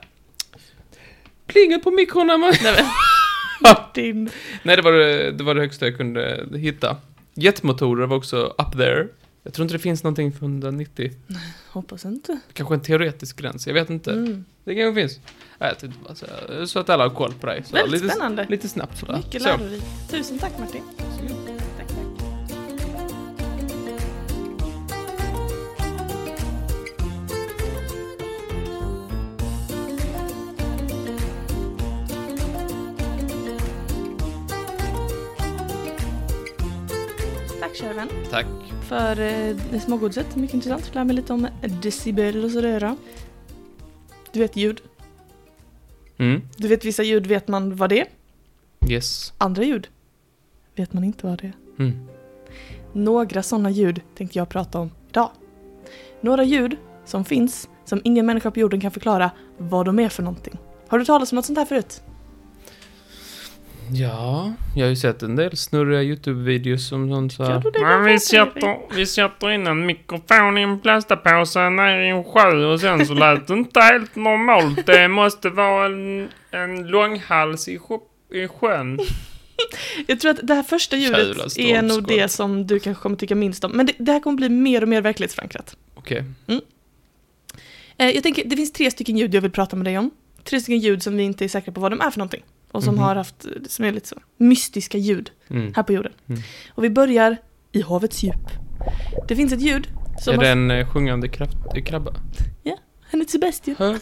Plinget på mikron när man... Nej men... Ja. Din... Nej, det var det, det var det högsta jag kunde hitta. Jetmotorer var också up there. Jag tror inte det finns någonting för 190. Hoppas inte. Kanske en teoretisk gräns, jag vet inte. Mm. Det kanske finns. Nej, jag tänkte bara säga, så att alla har koll på dig. Så, Väldigt lite, spännande. Lite snabbt sådär. Mycket så. lärorikt. Tusen tack Martin. Tack, tack. Tack kära vän Tack. för eh, det smågodiset. Mycket intressant. Fick lära mig lite om decibel och sådär. ja. Du vet ljud. Mm. Du vet vissa ljud vet man vad det är. Yes. Andra ljud vet man inte vad det är. Mm. Några sådana ljud tänkte jag prata om idag. Några ljud som finns som ingen människa på jorden kan förklara vad de är för någonting. Har du talat om något sånt här förut? Ja, jag har ju sett en del snurriga YouTube-videos som sånt så Gör här. du det? Men vi sätter, vi sätter in en mikrofon i en plastpåse ner i en sjö och sen så lät det inte helt normalt. Det måste vara en, en långhals i, sjö, i sjön. Jag tror att det här första Jävla ljudet är nog stormskott. det som du kanske kommer tycka minst om. Men det, det här kommer bli mer och mer verklighetsförankrat. Okej. Eh, jag tänker, det finns tre stycken ljud jag vill prata med dig om. Tre stycken ljud som vi inte är säkra på vad de är för någonting. Och som Mhm. har haft, som är lite så, mystiska ljud Mm. här på jorden. Mm. Och vi börjar i havets djup. Det finns ett ljud som Är har- det en eh, sjungande kraft, eh, krabba? Han är ett Sebastian. Hör.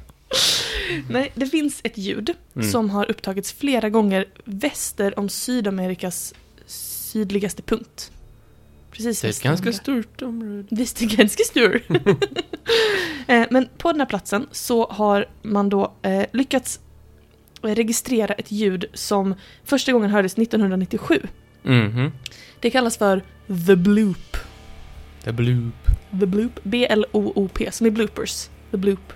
Nej, det finns ett ljud Mm. som har upptagits flera gånger väster om Sydamerikas sydligaste punkt. Precis Det är ett väster ganska om- stort område. Visst är det ganska stor. Eh, Men på den här platsen så har man då eh, lyckats eh, registrera ett ljud som första gången hördes 1997. Mm. Mhm. Det kallas för the bloop. The bloop. The Bloop. B-L-O-O-P, som är bloopers. The Bloop.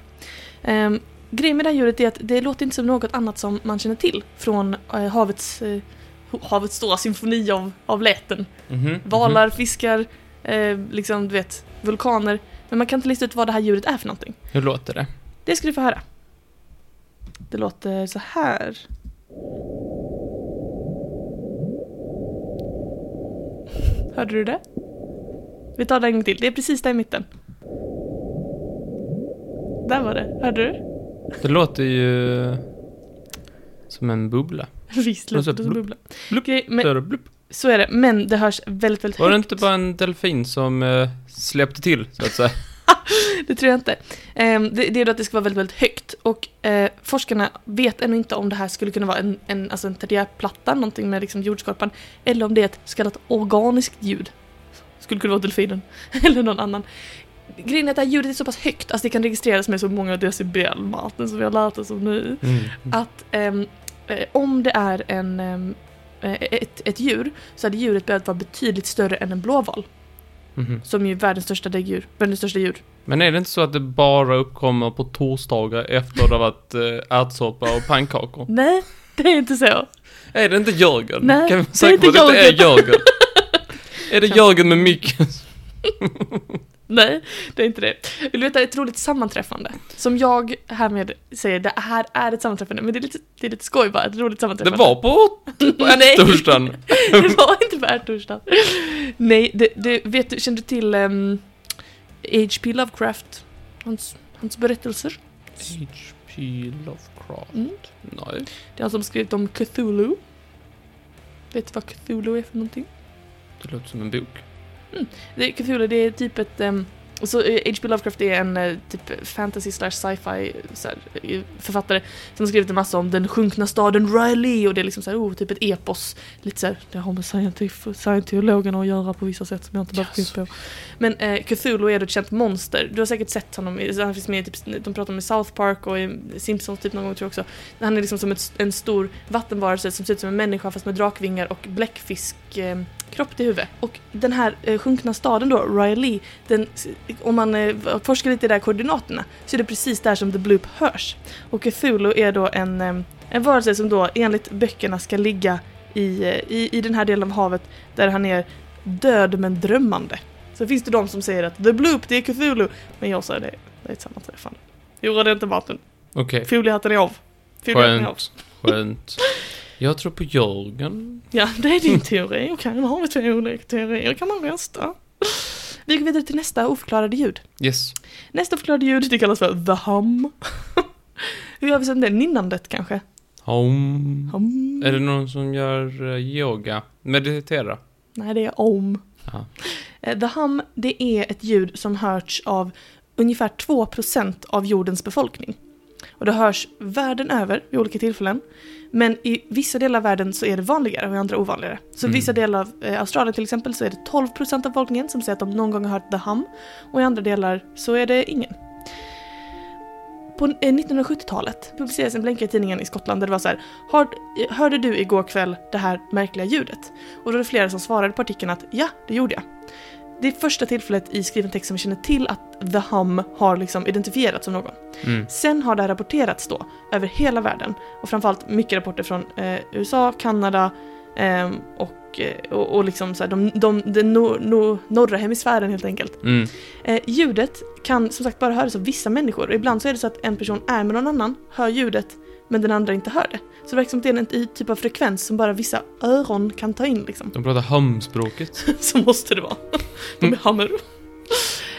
Um, grejen med det här djuret är att det låter inte som något annat som man känner till från eh, havets, eh, havets stora symfoni av, av läten. Mhm. Valar, fiskar, eh, liksom du vet, vulkaner. Men man kan inte lista ut vad det här djuret är för någonting. Mhm. Hur låter det? Det ska du få höra. Det låter så här. Hörde du det? Vi tar det en gång till. Det är precis där i mitten. Där var det. Hörde du? Det låter ju... Som en bubbla. Visst Och så låter det som blup, bubbla. blup. Okej, Så men, är det blup. så är det, men det hörs väldigt, väldigt Var det högt. inte bara en delfin som eh, släppte till, så att säga? Det tror jag inte. Ehm, det, det är då att det ska vara väldigt, väldigt högt. Och eh, forskarna vet ännu inte om det här skulle kunna vara en, en, alltså en terriärplatta, någonting med liksom jordskorpan, eller om det är ett så kallat organiskt ljud. Skulle kunna vara delfinen, eller någon annan. Grejen är att det här ljudet är så pass högt, alltså det kan registreras med så många decibel, Martin, som vi har lärt oss om nu Mm. att ehm, eh, om det är en, ehm, eh, ett, ett djur så hade djuret behövt vara betydligt större än en blåval, Mhm. som ju är världens största däggdjur, världens största djur. Men är det inte så att det bara uppkommer på torsdagar efter det har varit eh, ärtsoppa och pannkakor? Nej, det är inte så. Är det inte Jörgen? Nej, kan vi det är vara säkra på inte att det inte är Jörgen? är det Jörgen med mycket? Nej, det är inte det. Vill du veta ett roligt sammanträffande? Som jag härmed säger, det här är ett sammanträffande, men det är lite, det är lite skoj bara, ett roligt Det sammanträffande. var på, på Nej. torsdagen. det var inte bärtorsdag. Nej, det, det, vet du, känner du till ehm, H.P. Lovecraft? Hans, hans berättelser? H.P. Lovecraft? Mm. Nej. Det är han som skrivit om Cthulhu. Vet du vad Cthulhu är för någonting? Det låter som en bok. Det, Cthulhu, det är typ ett... ehm, och så eh, H.P. Lovecraft är en eh, typ fantasy slash sci-fi så här, eh, författare som har skrivit en massa om den sjunkna staden Riley och det är liksom så här, oh, typ ett epos. Lite så här, det har med scientif- scientologerna att göra på vissa sätt som jag inte bara finns på. Men eh, Cthulhu är då ett känt monster. Du har säkert sett honom, i- han finns med i typ, de pratar om i South Park och i Simpsons typ någon gång tror jag också. Han är liksom som ett, en stor vattenvarelse som ser ut som en människa fast med drakvingar och bläckfisk eh, kropp till huvud. Och den här eh, sjunkna staden då, Riley, den, om man eh, forskar lite i de där koordinaterna så är det precis där som The Bloop hörs. Och Cthulhu är då en, eh, en varelse som då enligt böckerna ska ligga i, eh, i, i den här delen av havet där han är död men drömmande. Så finns det de som säger att The Bloop, det är Cthulhu. Men jag säger det, det är ett sammanträffande. Jo, det är inte Martin. Okej, Foliehatten är av. Foliehatten är av. skönt. Skönt. Jag tror på Jörgen. Ja, det är din teori. Okej, okay, har vi teori, teorier kan man rösta. Vi går vidare till nästa oförklarade ljud. Yes. Nästa förklarade ljud, det kallas för the hum. Hur översätter det? Ninnandet kanske? Om. Hum. Är det någon som gör eh, yoga? Meditera? Nej, det är om. Jaha. Eh, The hum, det är ett ljud som hörts av ungefär 2% av jordens befolkning. Och det hörs världen över vid olika tillfällen. Men i vissa delar av världen så är det vanligare och i andra ovanligare. Så i Mm. vissa delar av eh, Australien till exempel så är det 12% av befolkningen som säger att de någon gång har hört the hum. Och i andra delar så är det ingen. På eh, 1970-talet publicerades en blänkare i tidningen i Skottland där det var så här "Har- eh, Hörde du igår kväll det här märkliga ljudet? Och då var det flera som svarade på artikeln att ja, det gjorde jag. Det är första tillfället i skriven text som vi känner till att the hum har liksom identifierats som någon. Mm. Sen har det här rapporterats då över hela världen och framförallt mycket rapporter från eh, USA, Kanada ehm, och, eh, och, och liksom så här, de, de, den nor- nor- norra hemisfären helt enkelt. Mm. Eh, ljudet kan som sagt bara höras av vissa människor och ibland så är det så att en person är med någon annan, hör ljudet, men den andra inte hör det. Så det verkar som att det är en i- typ av frekvens som bara vissa öron kan ta in liksom. De pratar hamspråket. så måste det vara. De är Mm. hammer.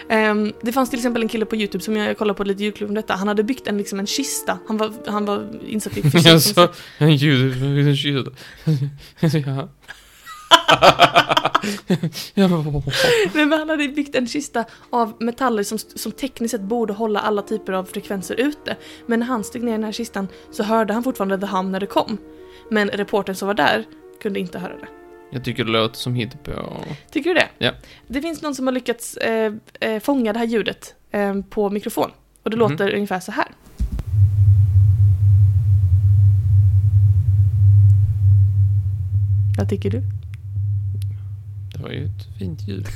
Ehm, det fanns till exempel en kille på Youtube som jag kollade på lite ljudklubb om detta. Han hade byggt en, liksom en kista. Han var, han var insatt i fysik. Jaså? En ljud... En ljud. Ja. Ja, men- Men han hade byggt en kista av metaller som, som tekniskt sett borde hålla alla typer av frekvenser ute. Men när han steg ner i den här kistan så hörde han fortfarande The Hum när det kom. Men reportern som var där kunde inte höra det. Jag tycker det låter som hittepå. Tycker du det? Ja. Det finns någon som har lyckats eh, eh, fånga det här ljudet eh, på mikrofon. Och det Mhm. låter ungefär så här. Vad tycker du? Det var ju ett fint ljud.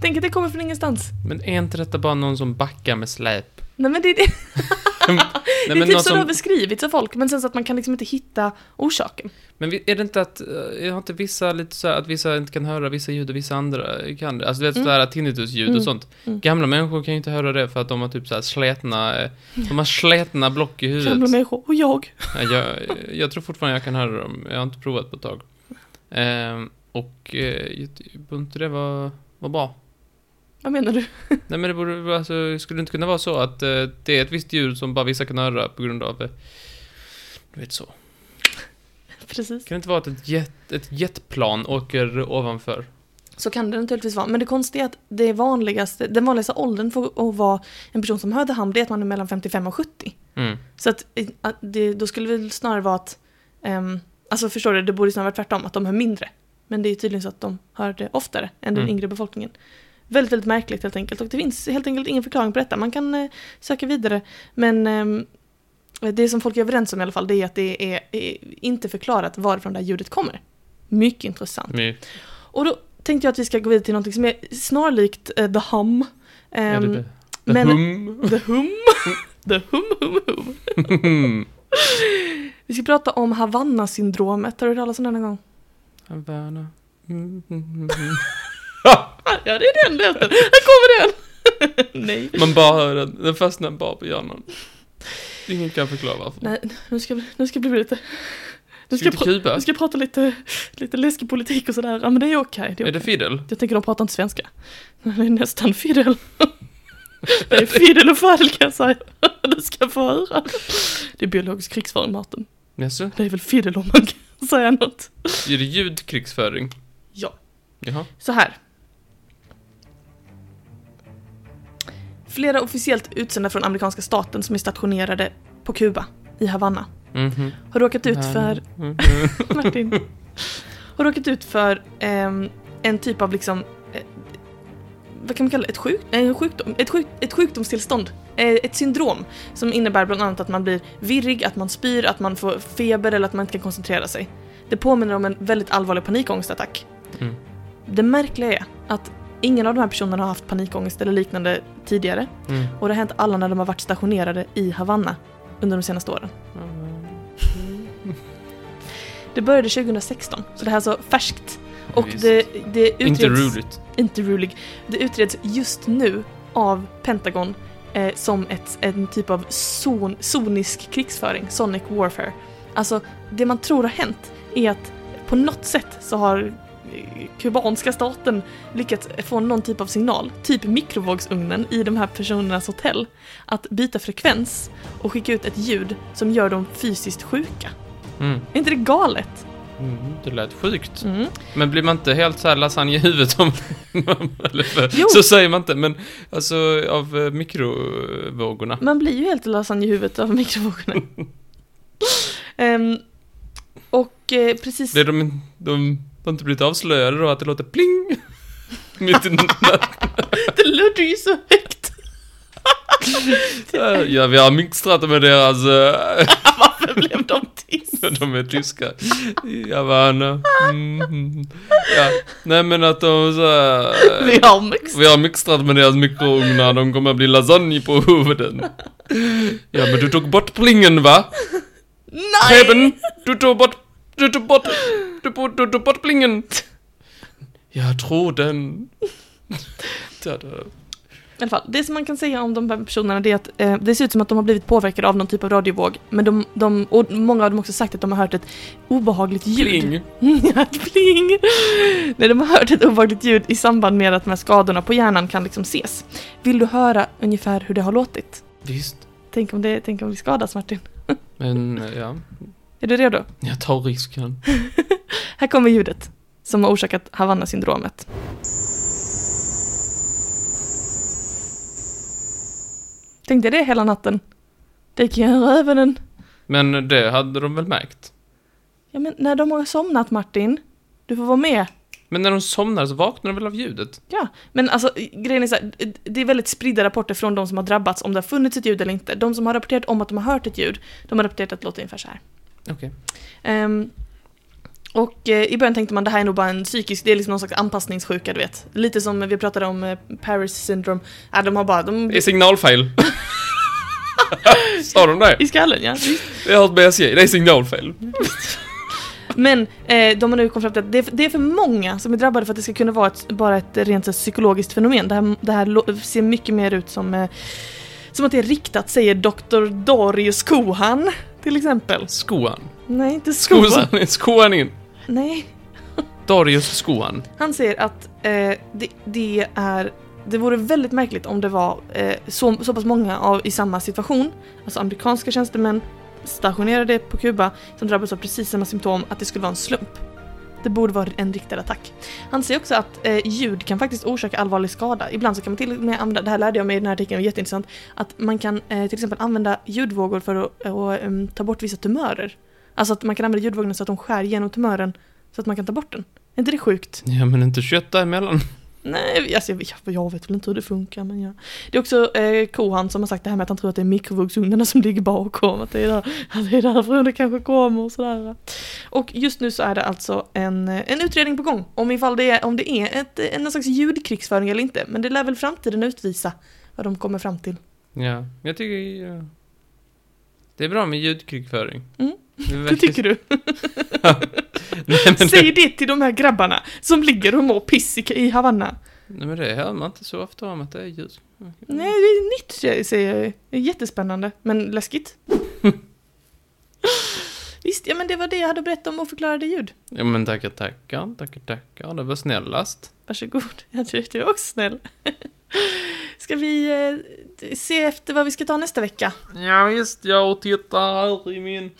Tänk att det kommer från ingenstans. Men är inte detta bara någon som backar med släp? Nej men det är det. Nej, det är men, typ någon så det har som, beskrivits av folk, men sen så att man kan liksom inte hitta orsaken. men vi- är det inte att, eh, har inte vissa lite så här, att vissa inte kan höra vissa ljud och vissa andra kan det? Alltså du vet Mm. sådär tinnitusljud Mm. och sånt. Mm. Gamla människor kan ju inte höra det för att de har typ såhär slätna, eh, de har slätna block i Gamla huvudet. människor, och jag. Ja, Jag, jag tror fortfarande jag kan höra dem, jag har inte provat på ett tag. Ehm, och eh, jag ty- borde inte det vara var bra? Vad menar du? Nej men det borde, vara- alltså, skulle det inte kunna vara så att eh, det är ett visst ljud som bara vissa kan höra på grund av, eh, du vet så. Precis. Kan det inte vara att ett, jet, ett jetplan åker ovanför? Så kan det naturligtvis vara, men det konstiga är att det vanligaste, den vanligaste åldern för att vara en person som hör The Hum, det är att man är mellan 55 och 70. Mm. Så att, eh, att det, då skulle det väl snarare vara att, ehm, alltså förstår du, det borde snarare vara tvärtom, att de hör mindre. Men det är tydligen så att de hör det oftare än den Mm. yngre befolkningen. Väldigt, väldigt märkligt helt enkelt. Och det finns helt enkelt ingen förklaring på detta. Man kan eh, söka vidare. Men ehm, det som folk är överens om i alla fall, det är att det är, är inte förklarat varifrån det här ljudet kommer. Mycket intressant. My, Och då tänkte jag att vi ska gå vidare till något som är snarlikt eh, the hum. är Ehm, det det? The men- hum? the hum. the hum, hum, hum. Vi ska prata om Havanna-syndromet. Har du hört talas om den någon gång? Havana. Mm, mm, mm. Ja, det är den låten. Här kommer den! Nej. Man bara hör den, den fastnar bara på hjärnan. Ingen kan förklara varför. Nej, nu ska, nu ska det bli lite... Nu ska, Ska vi pra- till Kuba? nu ska jag prata lite, lite läskig politik och sådär. Ja, men det är okej. det är Är det okej. Fidel? jag tänker de pratar inte svenska. Men Det är nästan Fidel. Det är Fidel och Fadel kan jag säga. Du ska få höra. Det är biologisk krigsföring, Martin. Jaså? Det är väl Fidel om man kan säga något. Är det ljudkrigsföring? Ja. Jaha. Så här. Flera officiellt utsända från amerikanska staten som är stationerade på Kuba, i Havanna, Mhm. har råkat ut för... Mm. Martin. Har råkat ut för ehm, en typ av liksom... Eh, vad kan man kalla det? Ett, sjuk, en sjukdom, ett, sjuk, ett sjukdomstillstånd. Eh, ett syndrom som innebär bland annat att man blir virrig, att man spyr, att man får feber eller att man inte kan koncentrera sig. Det påminner om en väldigt allvarlig panikångestattack. Mm. Det märkliga är att ingen av de här personerna har haft panikångest eller liknande tidigare. Mm. Och det har hänt alla när de har varit stationerade i Havanna under de senaste åren. Det började 2016, så det här är så färskt. Och Visst. det, det utreds... Inte roligt. Inte rolig. Det utreds just nu av Pentagon eh, som ett, en typ av zon, zonisk krigsföring, sonic warfare. Alltså, det man tror har hänt är att på något sätt så har eh, kubanska staten lyckats få någon typ av signal, typ mikrovågsugnen i de här personernas hotell, att byta frekvens och skicka ut ett ljud som gör dem fysiskt sjuka. Mm. Är inte det galet? Mm, det lät sjukt. Mm. Men blir man inte helt så här lasagne i huvudet om... eller för, Jo. så säger man inte, men alltså av eh, mikrovågorna. Man blir ju helt lasagne i huvudet av mikrovågorna. Ehm, och eh, precis... Det är de, de, de har inte blivit avslöjade då att det låter pling. Mitt i natten. Det låter ju så högt! Ja, vi har mixtrat med deras... eh, Varför blev de tyst? De är tyska. Jag bara, nej. Mm, mm. ja. Nej men att de så här, eh, Vi har mix. Vi har mixtrat med deras mikrougnar, de kommer bli lasagne på huvuden. Ja men du tog bort plingen va? Nej! Preben, du tog bort, du tog bort, du, bo- du tog bort plingen. Jag tror den. Ja, det- I alla fall, det som man kan säga om de här personerna det är att eh, det ser ut som att de har blivit påverkade av någon typ av radiovåg. Men de, de, och många av dem har också sagt att de har hört ett obehagligt ljud. Pling. Ja, ett pling! Nej, de har hört ett obehagligt ljud i samband med att de här skadorna på hjärnan kan liksom ses. Vill du höra ungefär hur det har låtit? Visst. Tänk om, det, tänk om vi skadas Martin? Men ja, Är du redo? jag tar risken. Här kommer ljudet som har orsakat Havanna-syndromet. Tänkte det hela natten. Det kan jag höra ögonen. Men det hade de väl märkt? Ja men när de har somnat Martin, du får vara med. Men när de somnar så vaknar de väl av ljudet? Ja, men alltså grejen är så här, det är väldigt spridda rapporter från de som har drabbats om det har funnits ett ljud eller inte. De som har rapporterat om att de har hört ett ljud, de har rapporterat att det låter ungefär så här. Okej. Ehm, och eh, i början tänkte man det här är nog bara en psykisk, det är liksom någon slags anpassningssjuka du vet. Lite som vi pratade om eh, Paris syndrome. Ja, de har bara... De, Det är signalfel. Sa de det? I skallen ja. Jag har hört med SJ, det är signalfel. Men eh, de har nu kommit fram till att det är, för- det är för många som är drabbade för att det ska kunna vara ett, bara ett rent så här, psykologiskt fenomen. Det här, det här lo- ser mycket mer ut som, eh, som att det är riktat, säger Dr. Darius Kohan till exempel. Skoan. Nej, inte Skohan. Skosan. Skoan in. Nej, Darius Skoan. Han säger att eh, det, det är det vore väldigt märkligt om det var eh, så, så pass många av, i samma situation, alltså amerikanska tjänstemän stationerade på Kuba som drabbades av precis samma symptom, att det skulle vara en slump. Det borde vara en riktad attack. Han säger också att eh, ljud kan faktiskt orsaka allvarlig skada. Ibland så kan man till och med använda, det här lärde jag mig i den här artikeln, det var jätteintressant, att man kan eh, till exempel använda ljudvågor för att och, em, ta bort vissa tumörer. Alltså att man kan använda ljudvågorna så att de skär genom tumören så att man kan ta bort den. Är inte det sjukt? Ja men inte kött däremellan. Nej, alltså jag, jag, jag vet väl inte hur det funkar men jag... Det är också eh, Kohan som har sagt det här med att han tror att det är mikrovågsugnarna som ligger bakom, att det är, där, att det är därifrån det kanske kommer och sådär. Och just nu så är det alltså en, eh, en utredning på gång om ifall det är, om det är ett, eh, någon slags ljudkrigsföring eller inte, men det lär väl framtiden utvisa vad de kommer fram till. Ja, jag tycker ja. Det är bra med ljudkrigföring. Mm. Det, Det tycker du? Nej, men det, Säg det till de här grabbarna som ligger och mår piss i, i Havanna. nej men det hör man inte så ofta om att det är ljud. Mm. Nej, det är nytt säger jag ju. Det är jättespännande, men läskigt. Visst, ja men det var det jag hade berättat om oförklarade ljud. Ja men tackar tackar, tackar tackar. Det var snällast. Varsågod, jag tyckte du var också snäll. Ska vi eh, se efter vad vi ska ta nästa vecka? Ja visst, jag tittar här i min...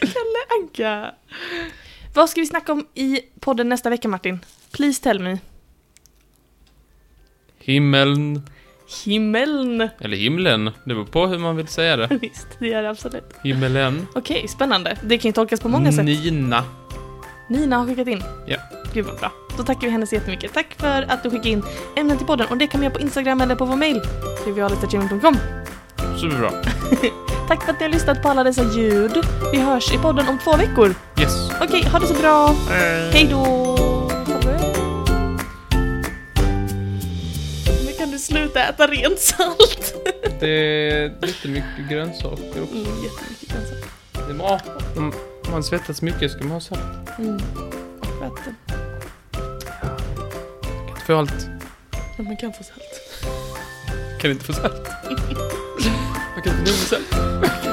Kalle Anka! Vad ska vi snacka om i podden nästa vecka Martin? Please tell me. Himmeln. Himmeln! Eller himlen. Det beror på hur man vill säga det. Visst, det gör det absolut. Himmelen. Okej, spännande. Det kan ju tolkas på många sätt. Nina. Nina har skickat in. Ja. Gud vad bra. Då tackar vi henne så jättemycket. Tack för att du skickade in ämnen till podden och det kan man göra på Instagram eller på vår mail. trivialet.gmail.com Superbra. Tack för att ni har lyssnat på alla dessa ljud. Vi hörs i podden om två veckor. Yes. Okej, ha det så bra. Eh, Hej då! Nu kan du sluta äta rent salt. Det är lite mycket grönsaker också. Mm, jättemycket grönsaker. Det är bra. Om man svettas mycket ska man ha salt. Mm. Och vatten. Kan inte få allt. Ja, man kan få salt. Kan inte få salt. Man kan inte få salt.